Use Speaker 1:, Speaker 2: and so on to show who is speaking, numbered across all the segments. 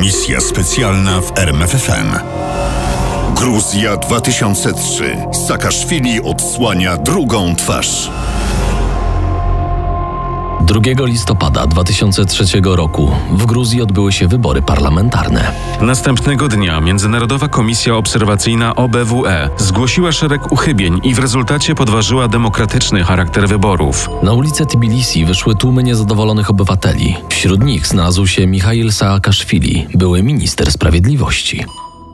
Speaker 1: Misja specjalna w RMFFM. Gruzja 2003. Saakaszwili odsłania drugą twarz.
Speaker 2: 2 listopada 2003 roku w Gruzji odbyły się wybory parlamentarne.
Speaker 3: Następnego dnia Międzynarodowa Komisja Obserwacyjna OBWE E zgłosiła szereg uchybień i w rezultacie podważyła demokratyczny charakter wyborów.
Speaker 2: Na ulice Tbilisi wyszły tłumy niezadowolonych obywateli. Wśród nich znalazł się Michail Saakaszwili, były minister sprawiedliwości.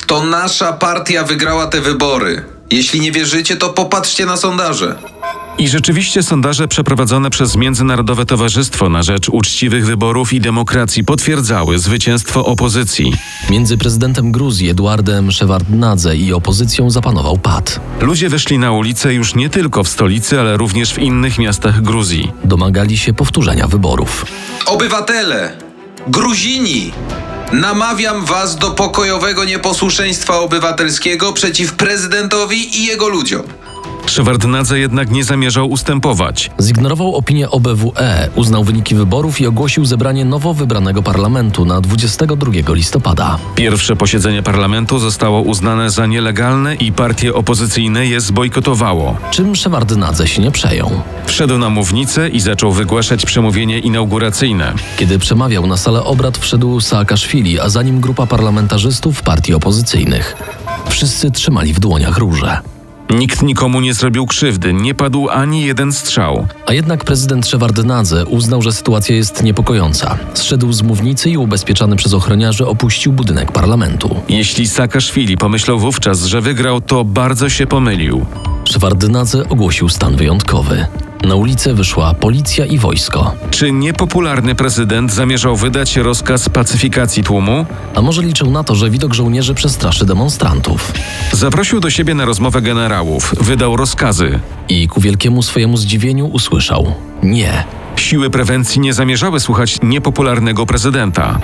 Speaker 4: To nasza partia wygrała te wybory. Jeśli nie wierzycie, to popatrzcie na sondaże.
Speaker 3: I rzeczywiście sondaże przeprowadzone przez Międzynarodowe Towarzystwo na Rzecz Uczciwych Wyborów i Demokracji potwierdzały zwycięstwo opozycji.
Speaker 2: Między prezydentem Gruzji Eduardem Szewardnadze i opozycją zapanował pad.
Speaker 3: Ludzie wyszli na ulice już nie tylko w stolicy, ale również w innych miastach Gruzji.
Speaker 2: Domagali się powtórzenia wyborów.
Speaker 4: Obywatele, Gruzini, namawiam was do pokojowego nieposłuszeństwa obywatelskiego przeciw prezydentowi i jego ludziom.
Speaker 3: Szewardnadze jednak nie zamierzał ustępować.
Speaker 2: Zignorował opinię OBWE, E, uznał wyniki wyborów i ogłosił zebranie nowo wybranego parlamentu na 22 listopada.
Speaker 3: Pierwsze posiedzenie parlamentu zostało uznane za nielegalne i partie opozycyjne je zbojkotowało.
Speaker 2: Czym Szewardnadze się nie przejął?
Speaker 3: Wszedł na mównicę i zaczął wygłaszać przemówienie inauguracyjne.
Speaker 2: Kiedy przemawiał na salę obrad, wszedł Saakaszwili, a za nim grupa parlamentarzystów partii opozycyjnych. Wszyscy trzymali w dłoniach róże.
Speaker 3: Nikt nikomu nie zrobił krzywdy, nie padł ani jeden strzał.
Speaker 2: A jednak prezydent Szewardnadze uznał, że sytuacja jest niepokojąca. Zszedł z mównicy i ubezpieczany przez ochroniarzy opuścił budynek parlamentu.
Speaker 3: Jeśli Saakaszwili pomyślał wówczas, że wygrał, to bardzo się pomylił.
Speaker 2: Szewardnadze ogłosił stan wyjątkowy. Na ulicę wyszła policja i wojsko.
Speaker 3: Czy niepopularny prezydent zamierzał wydać rozkaz pacyfikacji tłumu?
Speaker 2: A może liczył na to, że widok żołnierzy przestraszy demonstrantów.
Speaker 3: Zaprosił do siebie na rozmowę generałów, wydał rozkazy.
Speaker 2: I ku wielkiemu swojemu zdziwieniu usłyszał: Nie,
Speaker 3: Siły prewencji nie zamierzały słuchać niepopularnego prezydenta.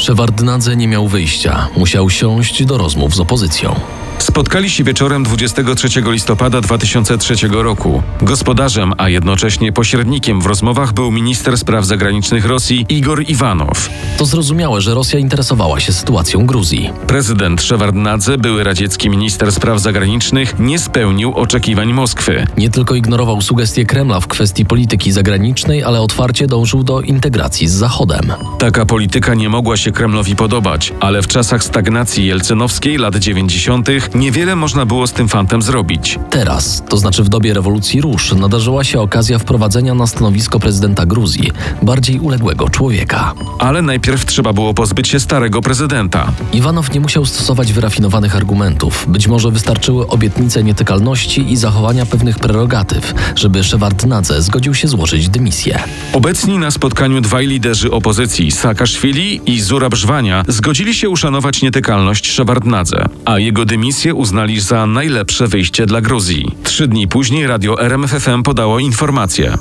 Speaker 2: Szewardnadze nie miał wyjścia, musiał siąść do rozmów z opozycją.
Speaker 3: Spotkali się wieczorem 23 listopada 2003 roku. Gospodarzem, a jednocześnie pośrednikiem w rozmowach był minister spraw zagranicznych Rosji Igor Iwanow.
Speaker 2: To zrozumiałe, że Rosja interesowała się sytuacją Gruzji.
Speaker 3: Prezydent Szewardnadze, były radziecki minister spraw zagranicznych, nie spełnił oczekiwań Moskwy.
Speaker 2: Nie tylko ignorował sugestie Kremla w kwestii polityki zagranicznej, ale otwarcie dążył do integracji z Zachodem.
Speaker 3: Taka polityka nie mogła się Kremlowi podobać, ale w czasach stagnacji jelcynowskiej lat 90. niewiele można było z tym fantem zrobić.
Speaker 2: Teraz, to znaczy w dobie rewolucji róż, nadarzyła się okazja wprowadzenia na stanowisko prezydenta Gruzji bardziej uległego człowieka.
Speaker 3: Ale najpierw trzeba było pozbyć się starego prezydenta.
Speaker 2: Iwanow nie musiał stosować wyrafinowanych argumentów. Być może wystarczyły obietnice nietykalności i zachowania pewnych prerogatyw, żeby Szewardnadze zgodził się złożyć dymisję.
Speaker 3: Obecni na spotkaniu dwaj liderzy opozycji, Saakaszwili i Zurab Żwania, zgodzili się uszanować nietykalność Szewardnadze, a jego dymisję uznali za najlepsze wyjście dla Gruzji. Trzy dni później radio RMFFM podało informację.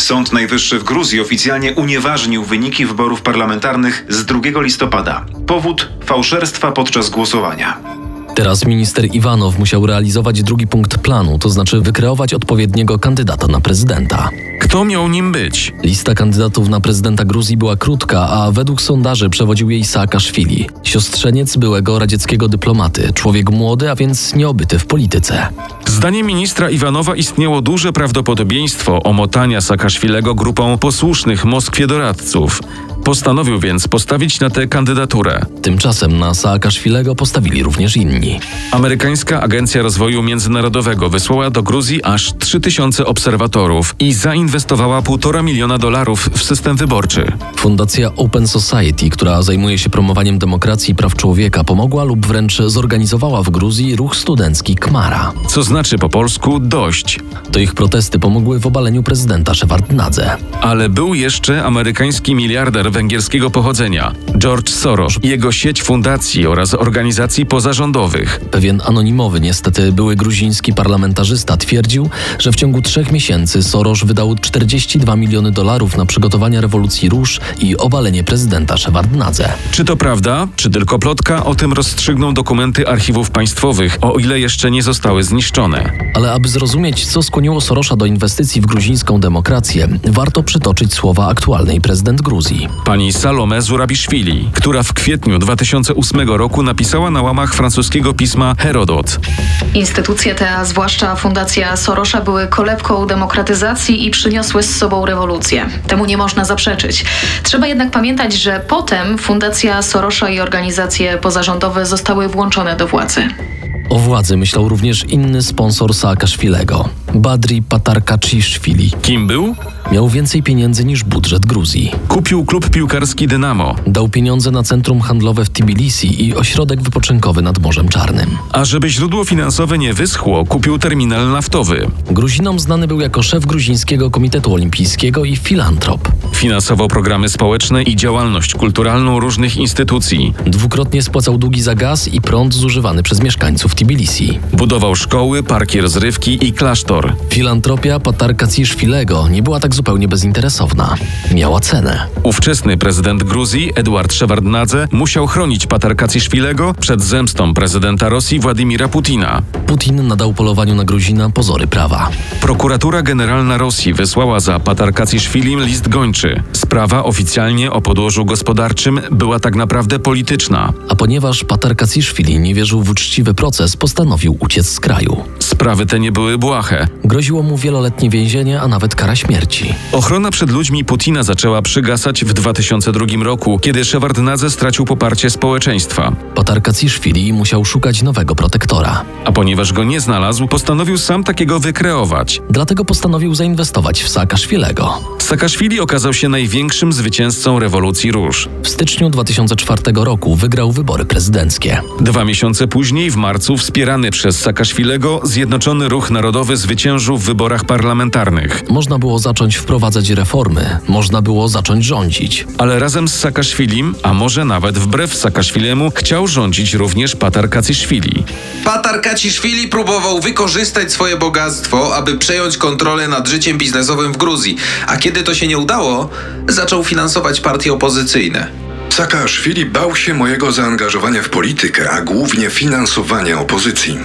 Speaker 5: Sąd Najwyższy w Gruzji oficjalnie unieważnił wyniki wyborów parlamentarnych z 2 listopada. Powód fałszerstwa podczas głosowania.
Speaker 2: Teraz minister Iwanow musiał realizować drugi punkt planu, to znaczy wykreować odpowiedniego kandydata na prezydenta.
Speaker 3: Kto miał nim być?
Speaker 2: Lista kandydatów na prezydenta Gruzji była krótka, a według sondaży przewodził jej Saakaszwili, siostrzeniec byłego radzieckiego dyplomaty, człowiek młody, a więc nieobyty w polityce.
Speaker 3: Zdaniem ministra Iwanowa istniało duże prawdopodobieństwo omotania Saakaszwilego grupą posłusznych Moskwie doradców. Postanowił więc postawić na tę kandydaturę.
Speaker 2: Tymczasem na Saakaszwilego postawili również inni.
Speaker 3: Amerykańska Agencja Rozwoju Międzynarodowego wysłała do Gruzji aż 3000 obserwatorów i zainwestowała 1,5 miliona dolarów w system wyborczy.
Speaker 2: Fundacja Open Society, która zajmuje się promowaniem demokracji i praw człowieka, pomogła lub wręcz zorganizowała w Gruzji ruch studencki Kmara.
Speaker 3: Co znaczy po polsku dość.
Speaker 2: To ich protesty pomogły w obaleniu prezydenta Szewardnadze.
Speaker 3: Ale był jeszcze amerykański miliarder węgierskiego pochodzenia, George Soros, jego sieć fundacji oraz organizacji pozarządowych.
Speaker 2: Pewien anonimowy, niestety były gruziński parlamentarzysta twierdził, że w ciągu trzech miesięcy Soros wydał 42 miliony dolarów na przygotowania rewolucji róż i obalenie prezydenta Szewardnadze.
Speaker 3: Czy to prawda, czy tylko plotka, o tym rozstrzygną dokumenty archiwów państwowych, o ile jeszcze nie zostały zniszczone.
Speaker 2: Ale aby zrozumieć, co skłoniło Sorosza do inwestycji w gruzińską demokrację, warto przytoczyć słowa aktualnej prezydent Gruzji.
Speaker 3: Pani Salome Zurabiszwili Wailey, która w kwietniu 2008 roku napisała na łamach francuskiego pisma Herodot.
Speaker 6: Instytucje te, a zwłaszcza Fundacja Sorosza, były kolebką demokratyzacji i przyniosły z sobą rewolucję. Temu nie można zaprzeczyć. Trzeba jednak pamiętać, że potem Fundacja Sorosza i organizacje pozarządowe zostały włączone do władzy.
Speaker 2: O władzy myślał również inny sponsor Saakaszwilego, Badri Patarkaciszwili.
Speaker 3: Kim był?
Speaker 2: Miał więcej pieniędzy niż budżet Gruzji.
Speaker 3: Kupił klub piłkarski Dynamo,
Speaker 2: Dał pieniądze na centrum handlowe w Tbilisi i ośrodek wypoczynkowy nad Morzem Czarnym.
Speaker 3: a żeby źródło finansowe nie wyschło, kupił terminal naftowy.
Speaker 2: Gruzinom znany był jako szef gruzińskiego komitetu olimpijskiego i filantrop.
Speaker 3: Finansował programy społeczne i działalność kulturalną różnych instytucji.
Speaker 2: Dwukrotnie spłacał długi za gaz i prąd zużywany przez mieszkańców Tbilisi.
Speaker 3: Budował szkoły, parki rozrywki i klasztor.
Speaker 2: Filantropia Patarka Ciszwilego nie była tak zupełnie bezinteresowna. Miała cenę.
Speaker 3: Ówczesny prezydent Gruzji, Edward Szewardnadze, musiał chronić Patarkaciszwilego przed zemstą prezydenta Rosji Władimira Putina.
Speaker 2: Putin nadał polowaniu na Gruzina pozory prawa.
Speaker 3: Prokuratura Generalna Rosji wysłała za Patarkaciszwilim list gończy. Sprawa oficjalnie o podłożu gospodarczym była tak naprawdę polityczna.
Speaker 2: A ponieważ Patarkaciszwili nie wierzył w uczciwy proces, postanowił uciec z kraju.
Speaker 3: Sprawy te nie były błahe.
Speaker 2: Groziło mu wieloletnie więzienie, a nawet kara śmierci.
Speaker 3: Ochrona przed ludźmi Putina zaczęła przygasać w 2002 roku, kiedy Szewardnadze stracił poparcie społeczeństwa.
Speaker 2: Patarkaciszwili musiał szukać nowego protektora.
Speaker 3: A ponieważ go nie znalazł, postanowił sam takiego wykreować.
Speaker 2: Dlatego postanowił zainwestować w Saakaszwilego.
Speaker 3: Saakaszwili okazał się największym zwycięzcą rewolucji róż.
Speaker 2: W styczniu 2004 roku wygrał wybory prezydenckie.
Speaker 3: Dwa miesiące później, w marcu, wspierany przez Saakaszwilego, Zjednoczony Ruch Narodowy zwyciężył w wyborach parlamentarnych.
Speaker 2: Można było zacząć wprowadzać reformy, można było zacząć rządzić.
Speaker 3: Ale razem z Saakaszwilim, a może nawet wbrew Saakaszwilemu, chciał rządzić również Patar Kaciszwili.
Speaker 4: Patar Kaciszwili próbował wykorzystać swoje bogactwo, aby przejąć kontrolę nad życiem biznesowym w Gruzji, a kiedy to się nie udało, zaczął finansować partie opozycyjne.
Speaker 7: Saakaszwili bał się mojego zaangażowania w politykę, a głównie finansowania opozycji.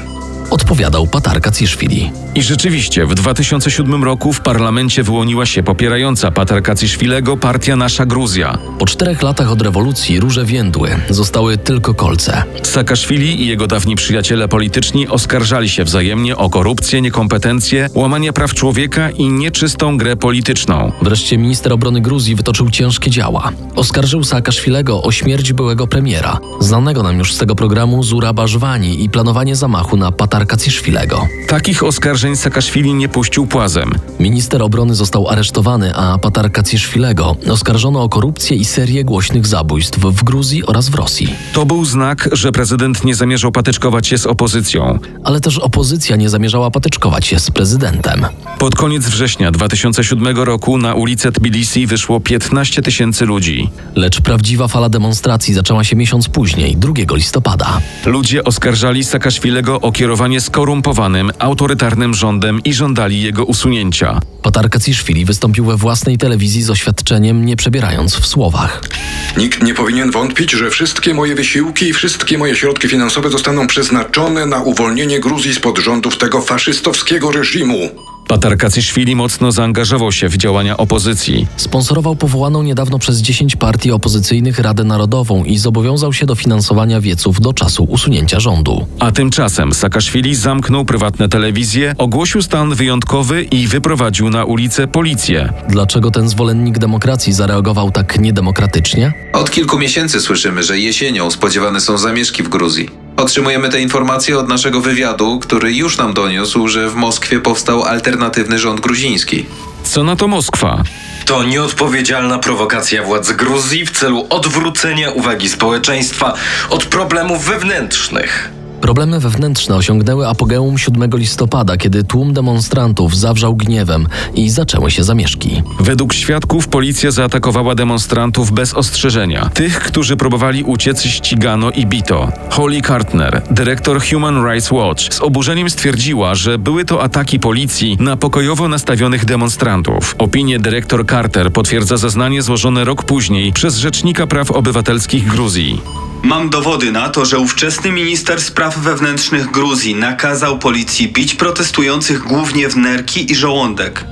Speaker 2: Odpowiadał Patarka Ciszwili.
Speaker 3: I rzeczywiście, w 2007 roku w parlamencie wyłoniła się popierająca Patar Kaciszwilego partia Nasza Gruzja.
Speaker 2: Po czterech latach od rewolucji róże więdły, zostały tylko kolce.
Speaker 3: Saakaszwili i jego dawni przyjaciele polityczni oskarżali się wzajemnie o korupcję, niekompetencje, łamanie praw człowieka i nieczystą grę polityczną.
Speaker 2: Wreszcie minister obrony Gruzji wytoczył ciężkie działa. Oskarżył Saakaszwilego o śmierć byłego premiera, znanego nam już z tego programu Zuraba Żwani i planowanie zamachu na Patarka Ciszwilego.
Speaker 3: Takich oskarżeń Saakaszwili nie puścił płazem.
Speaker 2: Minister obrony został aresztowany, a Patarka Ciszwilego oskarżono o korupcję i serię głośnych zabójstw w Gruzji oraz w Rosji.
Speaker 3: To był znak, że prezydent nie zamierzał patyczkować się z opozycją.
Speaker 2: Ale też opozycja nie zamierzała patyczkować się z prezydentem.
Speaker 3: Pod koniec września 2007 roku na ulicę Tbilisi wyszło 15 tysięcy ludzi.
Speaker 2: Lecz prawdziwa fala demonstracji zaczęła się miesiąc później, 2 listopada.
Speaker 3: Ludzie oskarżali Saakaszwilego o kierowanie skorumpowanym, autorytarnym rządem i żądali jego usunięcia.
Speaker 2: Patarka Ciszwili wystąpił we własnej telewizji z oświadczeniem, nie przebierając w słowach.
Speaker 7: Nikt nie powinien wątpić, że wszystkie moje wysiłki i wszystkie moje środki finansowe zostaną przeznaczone na uwolnienie Gruzji spod rządów tego faszystowskiego reżimu.
Speaker 3: Patar Kacyszwili mocno zaangażował się w działania opozycji.
Speaker 2: Sponsorował powołaną niedawno przez 10 partii opozycyjnych Radę Narodową i zobowiązał się do finansowania wieców do czasu usunięcia rządu.
Speaker 3: A tymczasem Saakaszwili zamknął prywatne telewizje, ogłosił stan wyjątkowy i wyprowadził na ulicę policję.
Speaker 2: Dlaczego ten zwolennik demokracji zareagował tak niedemokratycznie?
Speaker 4: Od kilku miesięcy słyszymy, że jesienią spodziewane są zamieszki w Gruzji. Otrzymujemy te informacje od naszego wywiadu, który już nam doniósł, że w Moskwie powstał alternatywny rząd gruziński.
Speaker 3: Co na to Moskwa?
Speaker 8: To nieodpowiedzialna prowokacja władz Gruzji w celu odwrócenia uwagi społeczeństwa od problemów wewnętrznych.
Speaker 2: Problemy wewnętrzne osiągnęły apogeum 7 listopada, kiedy tłum demonstrantów zawrzał gniewem i zaczęły się zamieszki.
Speaker 3: Według świadków policja zaatakowała demonstrantów bez ostrzeżenia. Tych, którzy próbowali uciec, ścigano i bito. Holly Kartner, dyrektor Human Rights Watch, z oburzeniem stwierdziła, że były to ataki policji na pokojowo nastawionych demonstrantów. Opinię dyrektor Carter potwierdza zeznanie złożone rok później przez Rzecznika Praw Obywatelskich Gruzji.
Speaker 9: Mam dowody na to, że ówczesny minister spraw wewnętrznych Gruzji nakazał policji bić protestujących głównie w nerki i żołądek.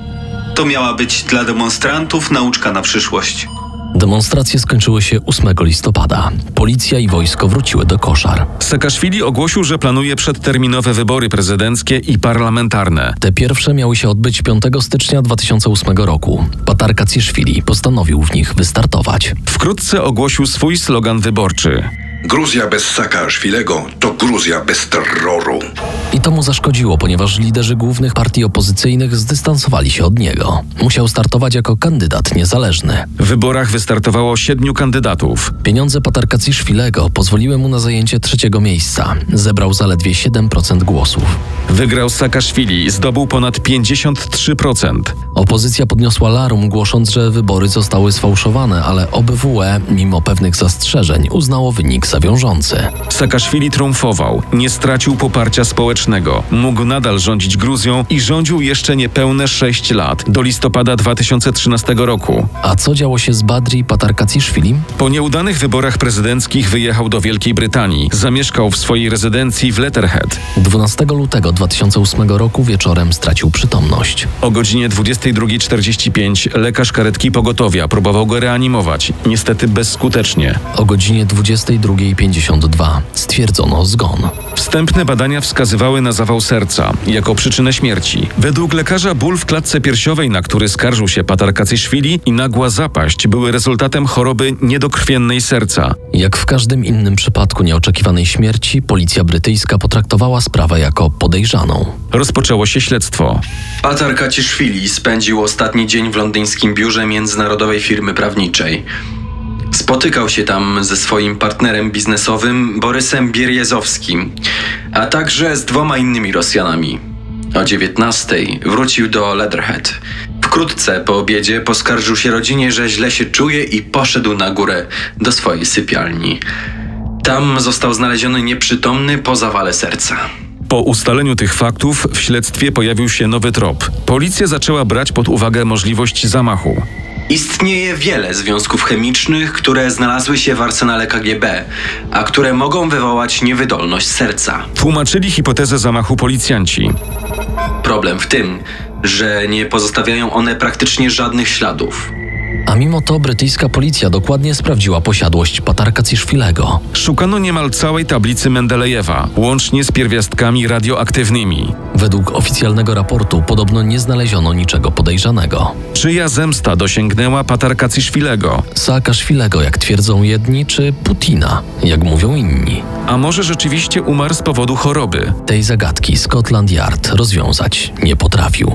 Speaker 9: To miała być dla demonstrantów nauczka na przyszłość.
Speaker 2: Demonstracje skończyły się 8 listopada. Policja i wojsko wróciły do koszar.
Speaker 3: Saakaszwili ogłosił, że planuje przedterminowe wybory prezydenckie i parlamentarne.
Speaker 2: Te pierwsze miały się odbyć 5 stycznia 2008 roku. Patar Kacjeszwili postanowił w nich wystartować.
Speaker 3: Wkrótce ogłosił swój slogan wyborczy.
Speaker 7: Gruzja bez Saakaszwilego to Gruzja bez terroru.
Speaker 2: I to mu zaszkodziło, ponieważ liderzy głównych partii opozycyjnych zdystansowali się od niego. Musiał startować jako kandydat niezależny.
Speaker 3: W wyborach wystartowało siedmiu kandydatów.
Speaker 2: Pieniądze Patarkacji Szwilego pozwoliły mu na zajęcie trzeciego miejsca. Zebrał zaledwie 7% głosów.
Speaker 3: Wygrał Saakaszwili, zdobył ponad 53%.
Speaker 2: Opozycja podniosła larum, głosząc, że wybory zostały sfałszowane, ale OBWE, E, mimo pewnych zastrzeżeń, uznało wynik za wiążący.
Speaker 3: Saakaszwili triumfował, nie stracił poparcia społecznego, mógł nadal rządzić Gruzją i rządził jeszcze niepełne 6 lat, do listopada 2013 roku.
Speaker 2: A co działo się z Badri Patarkaciszwilim?
Speaker 3: Po nieudanych wyborach prezydenckich wyjechał do Wielkiej Brytanii, zamieszkał w swojej rezydencji w Letterhead.
Speaker 2: 12 lutego 2008 roku wieczorem stracił przytomność.
Speaker 3: O godzinie 22.45 lekarz karetki pogotowia próbował go reanimować, niestety bezskutecznie.
Speaker 2: O godzinie 22.52 stwierdzono zgon.
Speaker 3: Wstępne badania wskazywały na zawał serca jako przyczynę śmierci. Według lekarza ból w klatce piersiowej, na który skarżył się Patar Kacyszwili i nagła zapaść były rezultatem choroby niedokrwiennej serca.
Speaker 2: Jak w każdym innym przypadku nieoczekiwanej śmierci, policja brytyjska potraktowała sprawę jako podejrzaną.
Speaker 3: Rozpoczęło się śledztwo.
Speaker 8: Patar Kaciszwili spędził ostatni dzień w londyńskim biurze międzynarodowej firmy prawniczej. Spotykał się tam ze swoim partnerem biznesowym Borysem Bierjezowskim, a także z dwoma innymi Rosjanami. O 19 wrócił do Leatherhead. Wkrótce po obiedzie poskarżył się rodzinie, że źle się czuje i poszedł na górę do swojej sypialni. Tam został znaleziony nieprzytomny po zawale serca.
Speaker 3: Po ustaleniu tych faktów w śledztwie pojawił się nowy trop. Policja zaczęła brać pod uwagę możliwość zamachu.
Speaker 8: Istnieje wiele związków chemicznych, które znalazły się w arsenale KGB, a które mogą wywołać niewydolność serca.
Speaker 3: Tłumaczyli hipotezę zamachu policjanci.
Speaker 8: Problem w tym, że nie pozostawiają one praktycznie żadnych śladów.
Speaker 2: A mimo to brytyjska policja dokładnie sprawdziła posiadłość Patarka Ciszwilego.
Speaker 3: Szukano niemal całej tablicy Mendelejewa, łącznie z pierwiastkami radioaktywnymi.
Speaker 2: Według oficjalnego raportu podobno nie znaleziono niczego podejrzanego.
Speaker 3: Czyja zemsta dosięgnęła Patarka Ciszwilego?
Speaker 2: Saakaszwilego, jak twierdzą jedni, czy Putina, jak mówią inni.
Speaker 3: A może rzeczywiście umarł z powodu choroby?
Speaker 2: Tej zagadki Scotland Yard rozwiązać nie potrafił.